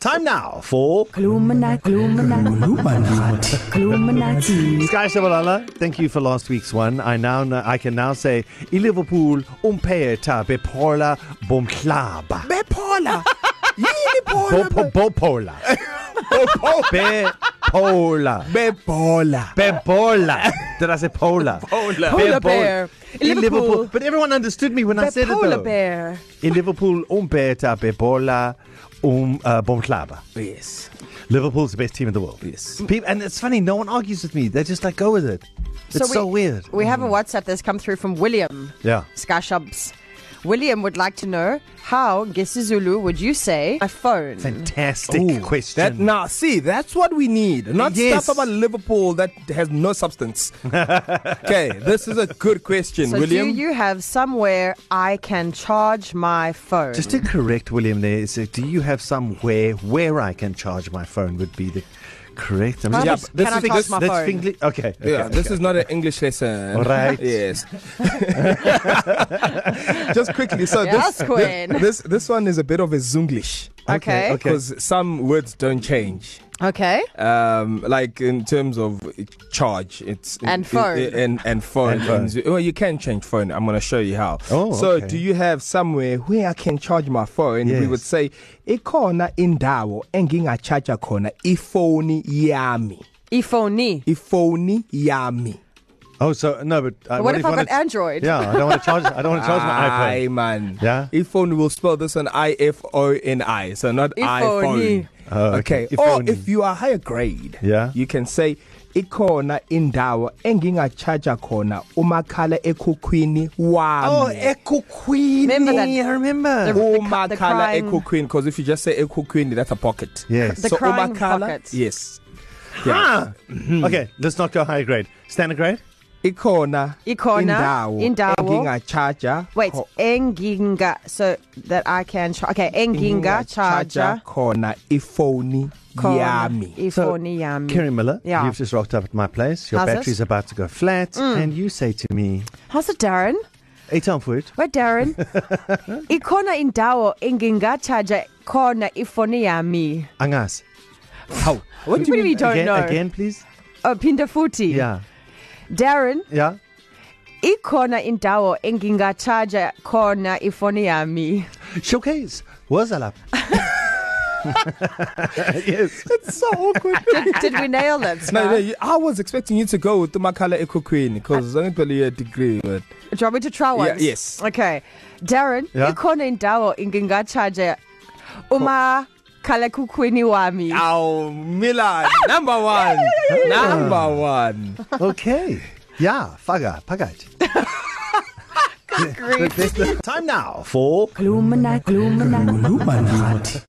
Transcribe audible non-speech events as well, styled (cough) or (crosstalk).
Time now for Illuminati, Illuminati, Illuminati. Illuminati. Sky Shabalala. Thank you for last week's one. I now kn- I can now say i Liverpool umpeta bepola bomhlaba. Bepola. Yini Bo- Pola? po- Bopola. (laughs) Bepola. Bepola. Bebola. Did I say pola? Pola. Bebola. Polar bear. In Liverpool. Liverpool. But everyone understood me when I said it polar though. bear. In Liverpool umpeta bepola um uh, bomhlaba. Yes. Liverpool's the best team in the world. Yes. People, and it's funny, no one argues with me. They just like go with it. It's so, weird. We have a WhatsApp that's come through from William. Yeah. Skashubs. William would like to know how Gesizulu would you say my phone? Fantastic Ooh, question. That, now, see, that's what we need. Not Yes. stuff about Liverpool that has (laughs) no substance. okay, this is a good question, So William. do you have somewhere I can charge my phone? Just to correct William there, is that do you have somewhere where I can charge my phone would be the correct. I'm How Yeah, much but this is- can I charge this- my that's phone? Fingli- okay. okay, yeah, okay. this is not an English lesson. Right. (laughs) Yes. Just quickly. So Yes, this, Quinn. (laughs) this this one is a bit of a Zunglish Okay. Okay. because some words don't change. Okay. um, like in terms of charge, it's And it- phone. it- and and phone. And phone. And z- well, you can change phone. I'm gonna show you how. Oh, so okay. do you have somewhere where I can charge my phone? We Yes. would say ikhona indawo engingacharja khona ifoni yami. Ifoni. Ifoni yami. Oh, so no, but uh, What if I I've wanna- got Android? Yeah, I don't want to charge. I don't want to (laughs) charge my Aye, iPhone. man. Yeah? Iphone will spell this on I F O N I, so not Ifoni. iPhone. Oh, okay. okay. Or Ifoni. if you are higher grade, Yeah. you can say ikhona indawo engingacharja khona umakhala ekhukhwini Oh, wami. Echo Queen. Remember that- I remember. eh, the- the ca- the umakhala crying- ekhukhwini because if you just say ekhukhwini that's a pocket. Yes. The so crying umakhala pocket. yes. Ah! Okay, let's not go high grade. Standard grade? Ikhona Ikhona indawo indawo engingacharja Wait, kho- enginga. So that I can charge. Okay, enginga charger. engingacharja khona ifoni yami. Ifoni yami. Kerry Mm. Miller, Yeah. you've just rocked up at my place. Your How's it? Mm. battery's about to go flat. And you say to me, How's it, Darren? Eight on food. Right, Darren. Ikhona indawo engingacharja khona ifoni yami. Angas. How? (laughs) What do you mean we don't again, know? Again, please? Oh, phinda futhi. Yeah. Darren, Yeah. ikhona indawo engingacharja khona (laughs) ifoni yami. Showcase. (laughs) Wazalap. yes. It's so (laughs) awkward. Did, did we nail it? No, no, Sky? you, I was expecting you to go with Makala Ecoqueen because I don't believe a degree, but Do you want me to try once? yes. Okay. Darren, Yeah. ikhona indawo engingacharja uma khalekhukhwini wami. oh, Milan, number (laughs) one, number one. Okay. Yeah. Faga. (laughs) Pagat. Time now for (laughs) Illuminati, Illuminati. Illuminati.